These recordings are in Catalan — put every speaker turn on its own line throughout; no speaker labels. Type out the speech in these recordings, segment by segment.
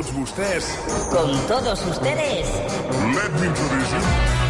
ustedes.
Con todos ustedes.
Let me introduce you.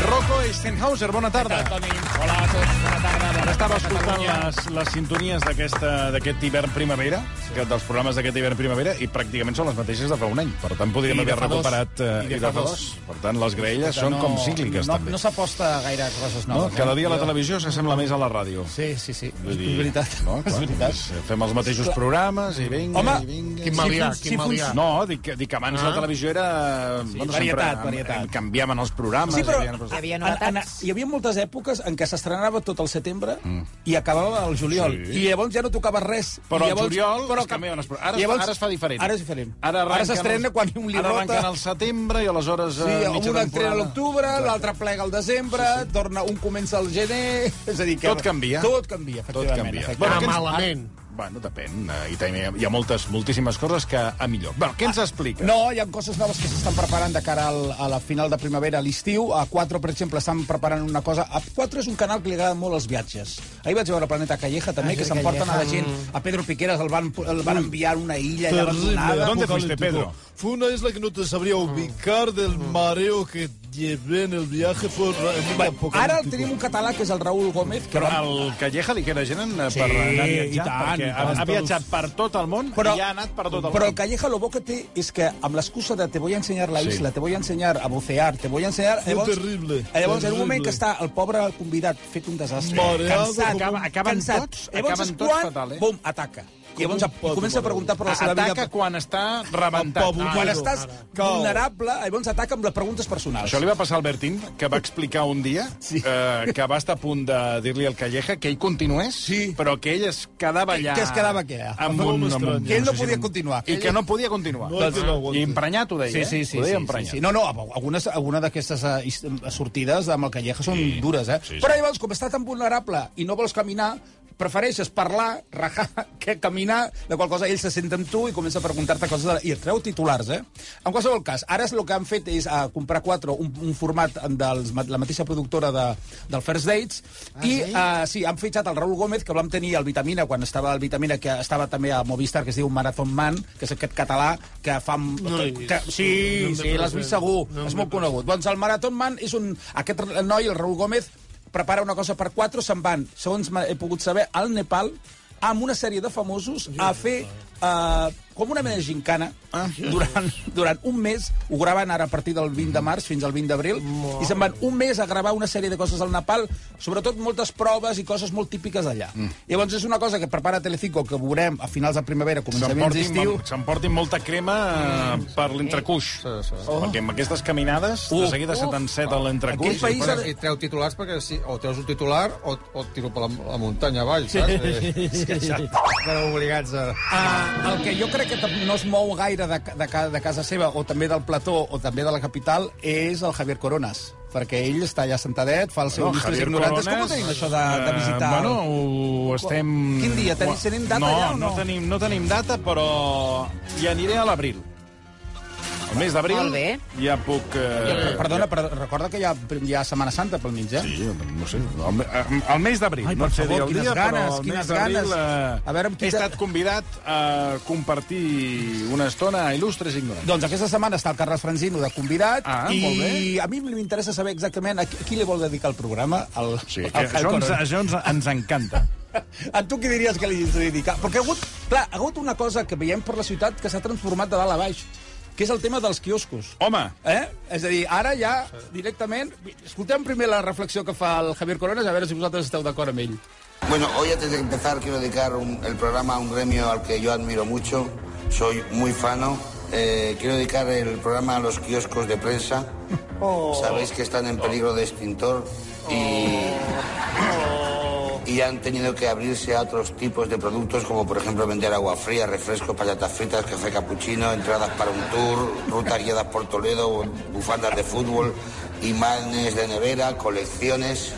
Rocco Steinhauser, bona tarda.
Toni? Hola a tots, bona tarda. Bona
Estava
tarda,
escoltant
Catalunya.
les, les sintonies d'aquesta- d'aquest hivern-primavera, que dels programes d'aquest hivern-primavera, i pràcticament són les mateixes de fa un any. Per tant, podríem
I de
haver
fa dos.
recuperat... eh,
I de
i
fa dos.
Per tant, les graelles són com cícliques,
no,
també.
No s'aposta a gaire coses
No,
noves.
cada dia la
Jo-
televisió s'assembla més a la ràdio.
Sí, sí, sí.
Vull dir,
és veritat.
No, clar,
és veritat.
doncs, Fem els mateixos programes i vinga,
Home,
i vinga.
Quin
Sí,
malià,
sí,
quin
fun-
malià.
No, dic, que- dic que abans la televisió era... Sí,
Ah. varietat, varietat.
canviaven els programes.
Sí, però
hi havia-
Hi havia
en-
novetats.
en- hi havia moltes èpoques en què s'estrenava tot el setembre mm. i acabava el juliol.
Sí.
I llavors ja no tocava res.
Però
I
al
llavors,
juliol es
que-
canviaven els pro- ara es-
llavors-
ara es fa diferent.
Ara és diferent.
arrenquen
Ara s'estrena
els-
quan un li
Ara
rota...
arrenquen al setembre i aleshores...
Sí,
eh,
un
mitja
entrena a
temporada.
l'octubre, l'altre plega al desembre, torna, un comença al gener... És a dir, que
Tot canvia.
Tot canvia,
Tot
efectivament.
canvia.
efectivament.
Bueno,
Ah,
què ens-
malament.
Bueno, depèn. eh, I també hi ha moltes, moltíssimes coses que a millor. Bueno, què ens explica?
Ah, No, hi ha coses noves que s'estan preparant de cara al, a la final de primavera, a l'estiu. A 4, per exemple, estan preparant una cosa. A 4 és un canal que li agraden molt els viatges. Ahir vaig veure Planeta Calleja,
Ah,
també, que s'emporten a la gent. A Pedro Piqueras el van, el van enviar a una illa allà abandonada.
¿Dónde fuiste, Pedro?
Fue una isla que no te sabría ubicar del mareo que llevé en el viaje. Fue ra- muy
Ara
apocalíptico.
tenim un català, que és el Raúl Gómez, que
Però ah,
va...
el Calleja li queda gent eh, per anar a
i
viatjar,
tant,
perquè
i tant,
ha, ha
tots.
viatjat per tot el món i ha anat per tot el
però el
món.
Calleja lo bo que té és que amb l'excusa de te voy a ensenyar la
Sí.
isla, te voy a ensenyar a bucear, te voy a ensenyar...
Fue terrible,
Llavors, en un moment
terrible.
que està el pobre convidat fet un desastre,
Mareado
cansat,
com un-
acaben
cansat.
tots-
llavors
acaben
és
tots
quan,
fatal, eh?
Bum, ataca. I llavors
un pot,
comença a preguntar per la seva
Ataca
vida...
quan està rebentat. Ah,
Empabullado.
Quan
Ara.
estàs
Cau.
vulnerable, llavors ataca amb les preguntes personals.
Això li va passar al Bertín, que va explicar un dia sí. eh, que va estar a punt de dir-li al Calleja que ell continués,
Sí.
però que ell es quedava allà...
Que es quedava què?
Amb
Em
un,
fa
amb
molt
un,
que ell no
sé si
podia
amb-
continuar.
I que no podia continuar.
No, que no aguanto.
I emprenyat ho deia,
Sí, sí, sí.
eh? Ho
sí,
deia
sí,
emprenyat.
sí. No, no, algunes, alguna d'aquestes eh, is- sortides amb el Calleja són dures, eh?
sí, sí.
Però llavors, com està tan vulnerable i no vols caminar, prefereixes parlar, rajar, que caminar, de qual cosa ell se sent amb tu i comença a preguntar-te coses de... i et treu titulars, eh? En qualsevol cas, ara el que han fet és a comprar quatre, un, un format dels, ma- la mateixa productora de, del First Dates, ah, i sí? Uh, sí, han fitxat el Raül Gómez, que el vam tenir al Vitamina, quan estava al Vitamina, que estava també a Movistar, que es diu Marathon Man, que és aquest català que fa... No
l'he
que,
vist.
sí,
No em
sí, l'has vist
representa.
segur,
No em
és molt
representa.
conegut. Doncs el Marathon Man és un... Aquest noi, el Raül Gómez, prepara una cosa per quatre, se'n van, segons m'he pogut saber, al Nepal, amb una sèrie de famosos, a fer eh, com una mena de gincana
Ah,
durant, durant un mes. Ho graven ara a partir del 20 de març fins al 20 d'abril. I se'n van un mes a gravar una sèrie de coses al Nepal, sobretot moltes proves i coses molt típiques d'allà.
Mm.
Llavors és una cosa que prepara Telecinco, que veurem a finals de primavera, començaments d'estiu.
S'emportin s'emportin molta crema eh, per l'entrecuix. Perquè amb aquestes caminades, de seguida se t'enceta l'entrecuix.
Aquell país
i-
ha
I treu titulars perquè si, o treus un titular o, o et tiro per la, la muntanya avall, saps? Sí. Eh, és que ja estan obligats a...
Ah, el que jo crec que tam- no es mou gaire de, ca- de, ca- de casa seva, o també del plató, o també de la capital, és el Javier Coronas perquè ell està allà sentadet, fa el seu
No,
no, llistes
Javier
ignorantes.
Coronas,
Com ho tenim, això de, de visitar?
Eh, bueno, ho estem...
Quin dia? Tenim- tenim data
no,
ja o no?
No, tenim, no tenim data, però hi aniré a l'abril. El mes d'abril
Molt bé.
ja puc... Eh...
Perdona, però recorda que hi ha, hi ha Setmana Santa pel mig, eh?
Sí, no sé, el, el mes d'abril.
Ai,
No
per
et sé
favor,
dir el
quines
dia,
ganes,
però el
quines
mes d'abril,
ganes.
eh,
A veure, amb qui
he
te-
estat convidat a compartir una estona a il·lustres ignorants.
Doncs aquesta setmana està el Carles Franzino de convidat
Ah, molt
i
bé.
a mi m'interessa saber exactament a qui, a qui li vol dedicar el programa. Al,
Sí,
al
que
Javier
això, ens,
Coronas.
això ens, ens encanta.
A tu què diries que li dedica? Perquè ha hagut, clar, ha hagut una cosa que veiem per la ciutat que s'ha transformat de dalt a baix, que és el tema dels quioscos.
Home,
Eh? És a dir, ara ja, directament... Escoltem primer la reflexió que fa el Javier Coronas, a veure si vosaltres esteu d'acord amb ell.
Bueno, hoy antes de empezar quiero dedicar un- el programa a un gremio al que yo admiro mucho, soy muy fano. Eh, quiero dedicar el programa a los kioscos de prensa. Sabéis que están en peligro de extintor y, y han tenido que abrirse a otros tipos de productos como por ejemplo vender agua fría, refrescos, patatas fritas, café capuchino, entradas para un tour, rutas guiadas por Toledo, bufandas de fútbol, imanes de nevera, colecciones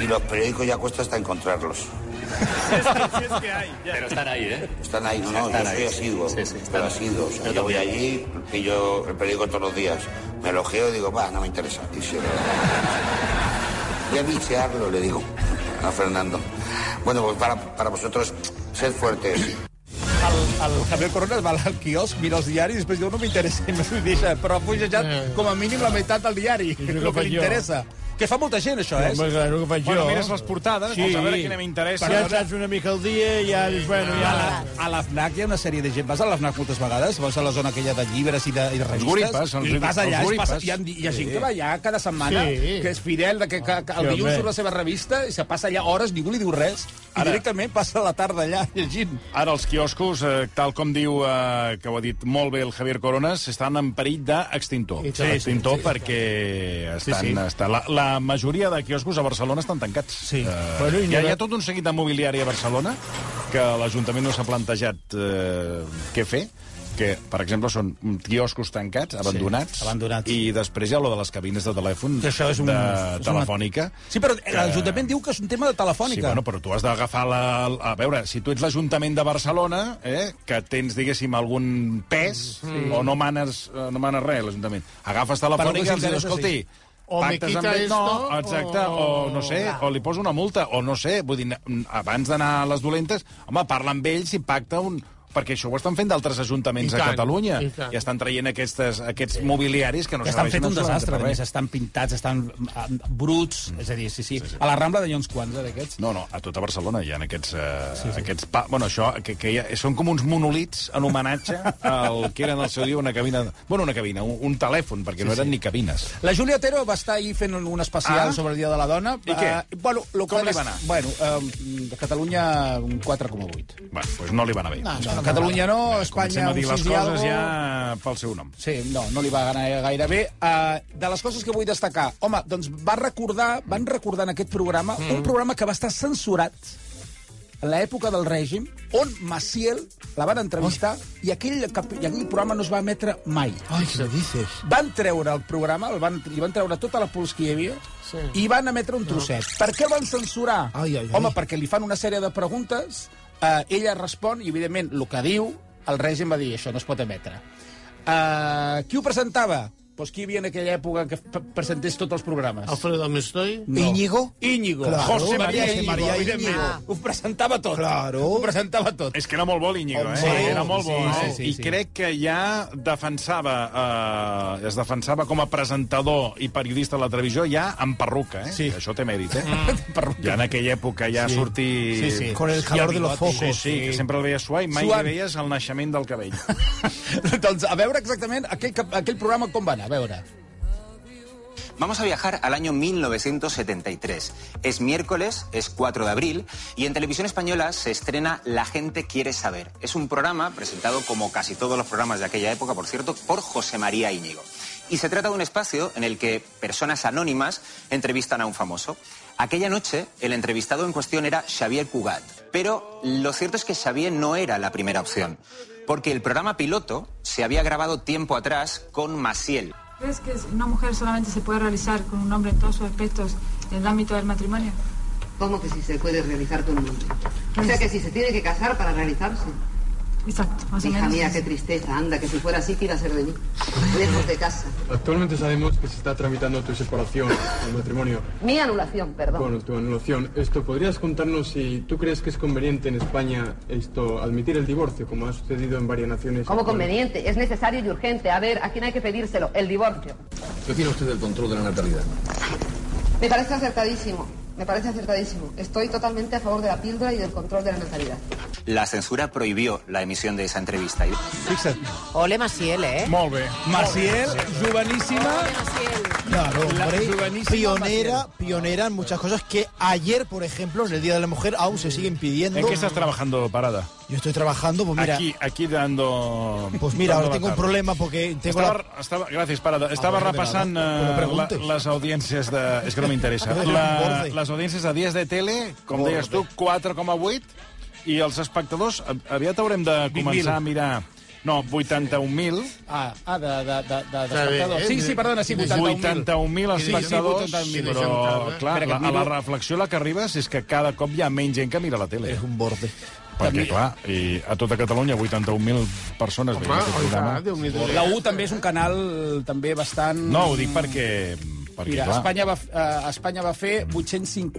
y los periódicos ya cuesta hasta encontrarlos.
Pero están ahí, ¿eh?
Están ahí, no, no, yo
Están
soy
ahí, sí.
asiduo,
Sí, sí, están
pero
ahí.
asiduo. O sea,
Yo
yo voy
también.
allí, pillo el periódico todos los días, me elogio y digo, va, no me interesa. Y se lo- Voy a bichearlo, le digo a Fernando. Bueno, pues para, para vosotros, sed fuertes.
el, el Javier Corona es va al quiosc, mira els diaris i després diu no m'interessa i m'ho deixa, però ha pujat com a mínim la meitat del diari,
és el Eh. que
el que
faig
li
jo.
interessa. Que fa molta gent, això, eh?
Home, clar, és el que faig
Bueno,
jo.
mires les portades, doncs a veure quina m'interessa.
Ja saps una mica al dia, ja... dius, Bueno, ja...
A la- A l'AFNAC hi ha una sèrie de gent. Vas a l'AFNAC moltes vegades? Vas a la zona aquella de llibres i de, i de revistes?
guripes, els-
I vas allà,
els
es passa,
guripes.
hi, ha, hi ha gent que va allà cada setmana,
Sí.
que és fidel, de que, que, que el
Sí,
dilluns
home.
surt la seva revista i se passa allà hores, ningú li diu res, i directament passa la tarda allà llegint.
Ara els quioscos, eh, tal com diu, eh, que ho ha dit molt bé el Javier Coronas, estan en perill d'extintor.
I
Sí,
tant,
extintor perquè estan,
Sí, sí.
Està, la, la majoria de quioscos a Barcelona estan tancats.
Sí.
Eh,
Bueno, i
hi, ha,
no-
hi ha tot un seguit de mobiliari a Barcelona que l'Ajuntament no s'ha plantejat eh, què fer que, per exemple, són quioscos tancats, abandonats,
abandonats.
i després hi ha lo de les cabines de telèfon
Que això és un-
de
és una-
telefònica.
Sí, però eh, l'Ajuntament diu que és un tema de telefònica.
Sí, bueno, però tu has d'agafar la... A veure, si tu ets l'Ajuntament de Barcelona, eh, que tens, diguéssim, algun pes, sí. o no manes, eh, no manes res, l'Ajuntament, agafes
Però
telefònica i els
que
dius,
s'interessa,
escolti,
O me
pactes
quita
amb ell, no,
esto,
exacte, o...
o-
no sé, o li poso una multa, o no sé, vull dir, n- abans d'anar a les dolentes, home, parla amb ells i pacta un... Perquè això ho estan fent d'altres ajuntaments
I
a
tant,
Catalunya.
i tant.
I estan traient aquestes, aquests mobiliaris que no
Que estan
serveixen
fet un
absolutament
desastre,
per
a
res. Mm.
més, estan pintats, estan eh, bruts, és a dir, sí, sí. A la Rambla de Llons Quants, eh, d'aquests?
No, no, a tota Barcelona hi ha aquests... Eh, sí, sí. aquests pa... Bueno, això, que, que hi ha... són com uns monolits en homenatge al que era en el seu dia una cabina... Bueno, una cabina, un, un telèfon, perquè sí, no eren sí. ni cabines.
La Júlia Otero va estar ahir fent un- un especial
Ah.
ah? sobre el Dia de la Dona.
I què?
Eh, bueno, lo
Com
qual
li
és-
va anar?
Bueno, eh, de Catalunya un 4,8.
Bueno, doncs no li va anar bé.
No, no, Catalunya no,
Comencem
Espanya
a
un
dir les
6 i
coses
algo.
ja pel seu nom.
Sí, no, no li va ganar gaire bé. Uh, de les coses que vull destacar, home, doncs va recordar, van recordar en aquest programa mm. un programa que va estar censurat en l'època del règim, on Maciel la van entrevistar oh. i, aquell, cap- i aquell programa no es va emetre mai.
Ai, què dices?
Van treure el programa, el van, li van treure tota la pols que hi havia sí. i van emetre un trosset. No. Per què el van censurar?
Ai, ai, ai.
Home, perquè li fan una sèrie de preguntes, eh, ella respon i, evidentment, el que diu, el règim va dir, això no es pot emetre. Eh, qui ho presentava? Doncs qui hi havia en aquella època que p- presentés tots els programes?
Alfredo, me estoy...
No.
Íñigo?
Íñigo.
Claro.
José María
José
Íñigo,
María
evidentment.
Íñigo.
Ho presentava tot.
Claro.
Ho presentava tot.
És que era molt bo l'Iñigo, eh?
Sí,
era molt bo.
sí,
eh?
sí, sí,
I
sí.
crec que ja defensava, eh, es defensava com a presentador i periodista a la televisió ja amb perruca, eh?
Sí.
Que Això té mèrit, eh? Ja en aquella època ja sí. sortir...
Sí, sí.
Con el calor de los focos.
Sí, sí, que sempre el veies suar i mai
Suant.
li veies el naixement del cabell.
doncs a veure exactament aquell, cap- aquell programa com va anar, a veure.
Vamos a viajar al año 1973. Es miércoles, es 4 de abril, y en televisión española se estrena La gente quiere saber. Es un programa presentado, como casi todos los programas de aquella época, por cierto, por José María Íñigo. Y se trata de un espacio en el que personas anónimas entrevistan a un famoso. Aquella noche, el entrevistado en cuestión era Xavier Cugat. Pero lo cierto es que Xavier no era la primera opción, porque el programa piloto se había grabado tiempo atrás con Maciel,
¿Crees que una mujer solamente se puede realizar con un hombre en todos sus aspectos en el ámbito del matrimonio?
¿Cómo que si se puede realizar con un hombre? O sea que si se tiene que casar para realizarse.
Exacto, más o
Hija
menos.
mía, qué tristeza. Anda, que si fuera así, ¿qué iba a ser de mí? Lejos de casa.
Actualmente sabemos que se está tramitando tu separación, tu matrimonio,
Mi anulación, perdón.
bueno, tu anulación. Esto, ¿podrías contarnos si tú crees que es conveniente en España esto, admitir el divorcio, como ha sucedido en varias naciones?
Como conveniente, es necesario y urgente. A ver, ¿a quién hay que pedírselo? El divorcio.
¿Qué opina usted del control de la natalidad?
Me parece acertadísimo. Me parece acertadísimo. Estoy totalmente a favor de la píldora y del control de la natalidad.
La censura prohibió la emisión de esa entrevista.
Fixa't.
Ole Maciel, eh?
molt bé.
Maciel, joveníssima...
Claro,
La
hombre,
jovenísima
pionera, pionera en muchas cosas que ayer, por ejemplo, en el Día de la Mujer, aún se siguen pidiendo.
¿En qué estás trabajando, Parada?
Yo estoy trabajando, pues mira,
aquí, aquí dando...
pues mira, ahora
dando
tengo un
la tarda.
problema porque tengo la-
Estava, estava, gràcies, Parada.
Ah,
Estava
veure, de
repassant
nada.
eh,
No
la,
preguntes.
les audiències de... És que no m'interessa.
Borde.
La, les audiències de dies de tele, com deies tu, 4,8, i els espectadors, a- aviat haurem de
20.000.
començar a mirar... No, 81.000.
Ah, ah, de, de, de, de,
espectadors.
eh?
Sí, sí, perdona, sí, 81.000.
81.000 espectadors,
81.000,
però, clar,
eh? Espera, que
la, a
miro.
la reflexió la que arribes és que cada cop hi ha menys gent que mira la tele.
Eh,
Es un borde.
Perquè, clar, i a tota Catalunya 81.000 persones veien aquest programa.
La U també és un canal també bastant...
No, ho dic perquè Perquè,
Mira,
clar-
Espanya va, eh, Espanya va fer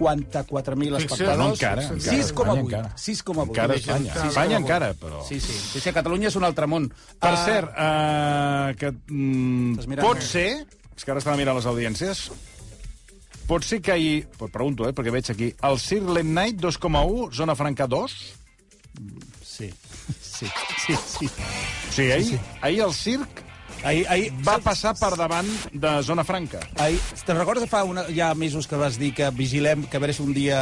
854.000
Fixeu-vos,
espectadors.
no, encara, encara. Espanya
6,8. 6,8.
Encara Espanya. Espanya encara, però...
Sí, sí. sí, sí Catalunya és un altre món.
Per
Ah,
cert, eh, que
Estàs
mm,
mirant,
pot
eh?
ser... És que ara estan a mirar les audiències. Pot ser que hi... Pot, pregunto, eh, perquè veig aquí. El Sirlen Night 2,1, Zona Franca 2.
Sí. Sí, sí, sí.
Sí, ahir, sí, sí. ahir el circ
ahir, ahir,
va passar per davant de Zona Franca.
Ahir, te'n recordes de fa una, ja mesos que vas dir que vigilem, que a veure si un dia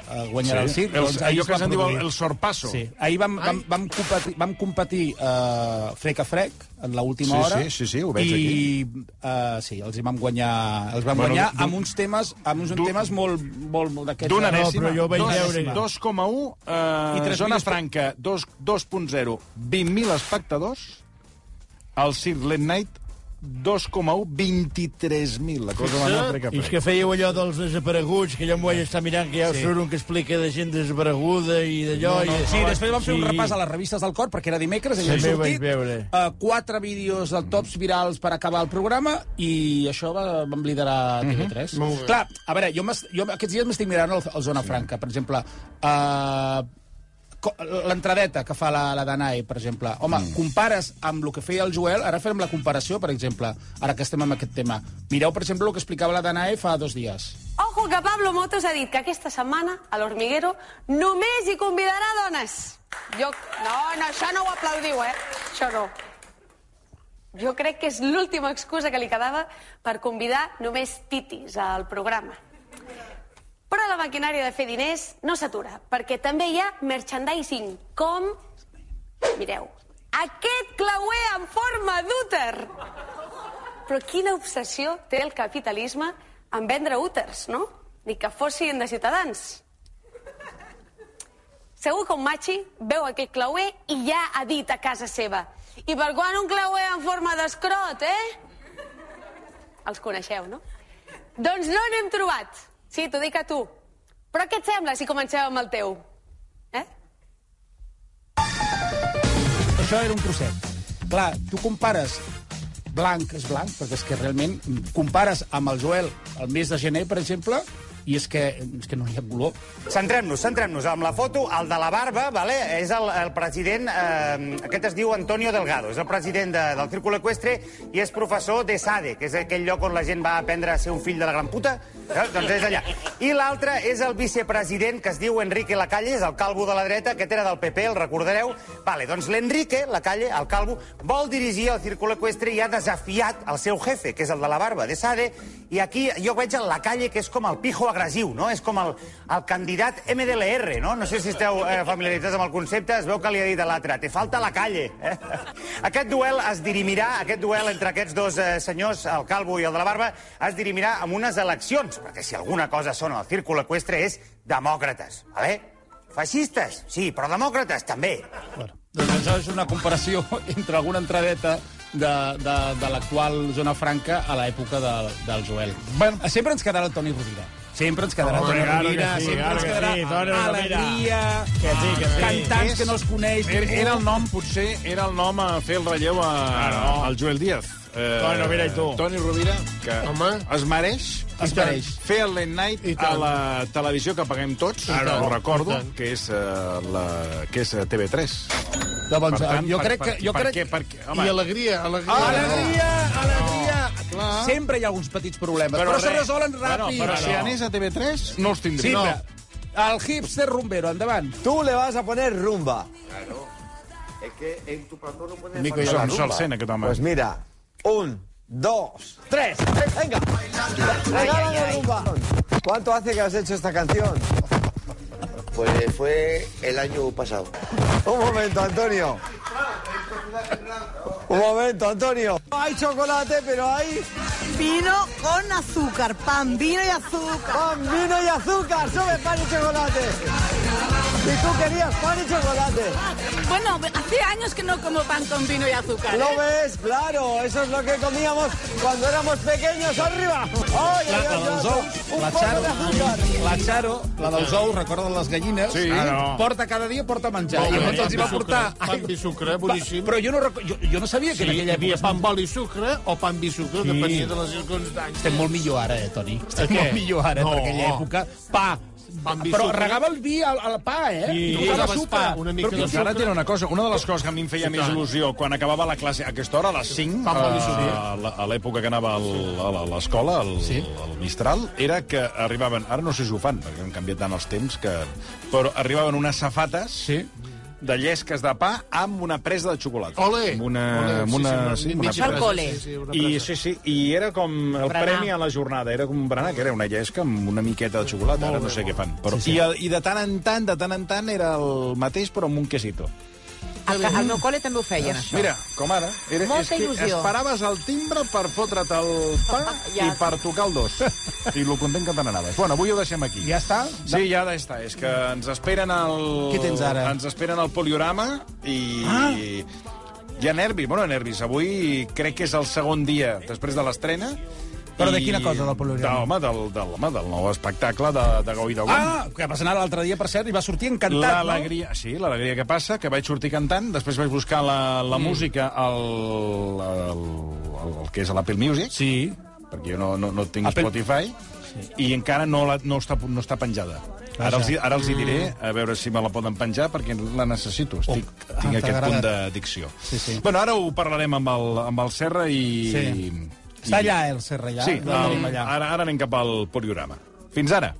eh,
Sí.
guanyarà el circ?
El-
ahir
allò
es
que
va
se'n diu el-
produir.
el sorpasso.
Sí. Ahir vam, vam, vam competir, vam competir eh, frec a frec, en l'última
Sí,
hora.
sí, sí, sí, ho veig
i,
aquí.
eh, sí, els hi vam guanyar, els vam
Bueno,
guanyar
d'un-
amb uns temes, amb uns temes molt, molt, molt d'aquests...
D'una
No,
dècima.
però jo vaig
Dos-
veure-
2,1.
I
Eh,
tres
zona
mil-
franca, dos- 2.0, 20.000 espectadors. El Cirque Late Night, 2,1, 23.000. La cosa va anar a
I els que fèieu allò dels desapareguts, que jo em vaig estar mirant, que ja sí.
Sí.
surt un que explica de gent desapareguda i d'allò...
No, no,
i...
sí, després vam fer un repàs a les revistes del cor, perquè era dimecres, i
Sí,
sí, han
també vaig
sortit
veure.
uh, quatre vídeos de tops virals per acabar el programa, i això va, vam liderar TV3.
Mhm. Molt bé.
Clar, a veure, jo, m'es- jo aquests dies m'estic mirant el, el Zona Franca, per exemple... Uh, l'entradeta que fa la, la Danae, per exemple. Home, mm. compares amb el que feia el Joel, ara fem la comparació, per exemple, ara que estem amb aquest tema. Mireu, per exemple, el que explicava la Danae fa dos dies.
Ojo que Pablo Motos ha dit que aquesta setmana a l'Hormiguero només hi convidarà dones. Jo... No, no, això no ho aplaudiu, eh? Això no. Jo crec que és l'última excusa que li quedava per convidar només titis al programa. Però la maquinària de fer diners no s'atura, perquè també hi ha merchandising, com... Mireu, aquest clauer en forma d'úter! Però quina obsessió té el capitalisme en vendre úters, no? Ni que fossin de ciutadans. Segur que un matxi veu aquest clauer i ja ha dit a casa seva i per quan un clauer en forma d'escrot, eh? Els coneixeu, no? Doncs no n'hem trobat. Sí, t'ho dic a tu. Però què et sembla si comenceu amb el teu? Eh?
Això era un trosset. Clar, tu compares blanc és blanc, perquè és que realment compares amb el Joel el mes de gener, per exemple, i és que, és que no hi ha color.
Centrem-nos, centrem-nos. Amb la foto, el de la barba, vale? és el, el president, eh, aquest es diu Antonio Delgado, és el president de, del Círculo Equestre i és professor de SADE, que és aquell lloc on la gent va aprendre a ser un fill de la gran puta. Eh? Doncs és allà. I l'altre és el vicepresident, que es diu Enrique Lacalle, és el calvo de la dreta, aquest era del PP, el recordareu. Vale, doncs l'Enrique Lacalle, el calvo, vol dirigir el Círculo Equestre i ha desafiat el seu jefe, que és el de la barba, de SADE, i aquí jo veig el Lacalle, que és com el pijo agressiu, no? És com el, el candidat MDLR, no? No sé si esteu eh, familiaritzats amb el concepte, es veu que li ha dit a l'altre, te falta la calle. Eh? Aquest duel es dirimirà, aquest duel entre aquests dos eh, senyors, el Calvo i el de la Barba, es dirimirà amb unes eleccions, perquè si alguna cosa són al círcul equestre és demòcrates, vale? Feixistes, sí, però demòcrates també.
Doncs això és una comparació entre alguna entradeta de, de, de l'actual Zona Franca a l'època de, del Joel. Bueno, sempre ens quedarà el Toni Rovira. Sempre ens quedarà el
Home,
Toni
claro que
Rovira,
sí,
sempre
claro
ens
que
quedarà
sí, Toni Rovira.
alegria, que sí, que sí. cantants que no es coneix...
Era,
ningú.
Er, era el nom, potser, era el nom a fer el relleu a,
Claro.
al Joel Díaz. Eh,
Toni Rovira i tu.
Toni Rovira, que Home. es mereix,
Es mereix.
fer el late night a la televisió que paguem tots,
Claro.
ho recordo,
I tant.
que és, eh, la, que és eh, TV3. Doncs,
Llavors,
eh,
jo crec que- jo
per
crec-
Què, per què, home,
I alegria,
alegria.
Ah, Alegria, alegria.
Ah,
Sempre hi ha alguns petits problemes, però, se
res.
resolen ràpid.
Bueno, però si anés a TV3, no els tindria.
Sempre. El hipster rumbero, endavant.
Tú le vas a poner rumba.
Claro. Es que en tu plató no puedes...
Mico i jo, un sol cent, eh, aquest home.
Pues mira, un, dos, tres. Venga. Regálame rumba. ¿Cuánto hace que has hecho esta canción?
Pues fue el año pasado.
Un momento, Antonio. Un momento, Antonio. No hay chocolate, pero hay...
Vino con azúcar, pan, vino y azúcar.
Pan, vino y azúcar, sobre pan y chocolate. Y tú querías pan y chocolate.
Bueno, hace años que no como pan con vino y azúcar.
¿Lo
¿eh?
ves? Claro, eso es lo que comíamos cuando éramos pequeños. ¡Arriba! ¡Ay,
La,
ay,
la
ay!
dels
otro.
ous,
Un
la
poco
Charo,
de azúcar.
la Charo, la dels ous, recorda les gallines,
Sí.
Claro. porta cada dia, porta menjar.
Molt
I
bé.
llavors els hi va
Pan i
portar...
sucre, pan
i sucre,
boníssim. però jo no recordo- jo- jo no sabia que en aquella
hi havia
època-
pan, bol i sucre o pan, vi,
Sí.
sucre, sí. depenia de les circumstàncies.
Estem molt millor ara, eh, Toni? Estem
Què?
molt millor ara,
No.
per aquella època. Pa.
Pan, vi,
Però
sucre.
regava el vi al, al pa, eh?
Sí.
I
I
posava
posaves
sucre.
pa, una mica
Però
de sucre. Ara et diré una cosa, una de les coses que a mi em feia
Sí,
més
tant.
il·lusió quan acabava la classe, a aquesta hora, a les 5,
Pam, pam, i sucre.
a, la- a l'època que anava al, a la- a l'escola, al, al Mistral, era que arribaven, ara no sé si ho fan, perquè han canviat tant els temps, que, però arribaven unes safates sí. de llesques de pa amb una presa de xocolata. Ole! Amb una,
Ole, sí,
amb una,
sí,
sí,
una-
una
mitja
presa.
presa, Al sí, sí, una presa.
I, sí, sí, i era com el
Berenar.
premi a la jornada, era com un berenar, que era una llesca amb una miqueta de xocolata, ara no sé què fan. Però, sí, sí. I, el- I de tant en tant, de tant en tant, era el mateix, però amb un quesito.
Al, ca- al meu col·le també ho feien, això.
Mira, com ara. Era,
Molta
és que
il·lusió.
esperaves el timbre per fotre't el pa
Ja.
i per tocar el dos. I lo content que te n'anaves. Bueno, avui ho deixem aquí. Ja està? Sí, ja està. És que ens esperen el...
Què tens ara?
Ens esperen el poliorama i... Ah. Hi ha nervis, bueno, nervis. Avui crec que és el segon dia després de l'estrena.
Però de
I-
quina cosa, del poliorama?
De, home, del, del, home, del nou espectacle de, de Gaudí de
Ah, que vas anar l'altre dia, per cert, i va sortir encantat,
L'alegria, sí, l'alegria que passa, que vaig sortir cantant, després vaig buscar la, la mm. música al, al, al, al que és a l'Apple Music. Sí. Perquè jo no, no, no tinc Apple... Spotify. Sí. I encara no, la, no, està, no està penjada. Ara els, hi- ara els hi diré, a veure si me la poden penjar, perquè la necessito. Estic, Mm. oh,
ah,
tinc aquest
t'agrada.
punt d'addicció. Sí, sí. Bueno, ara ho parlarem amb el, amb el Serra i...
Sí.
i-
Està allà, el Serra, allà?
Sí,
El tenim
el,
allà.
ara, ara anem cap al poliorama. Fins ara.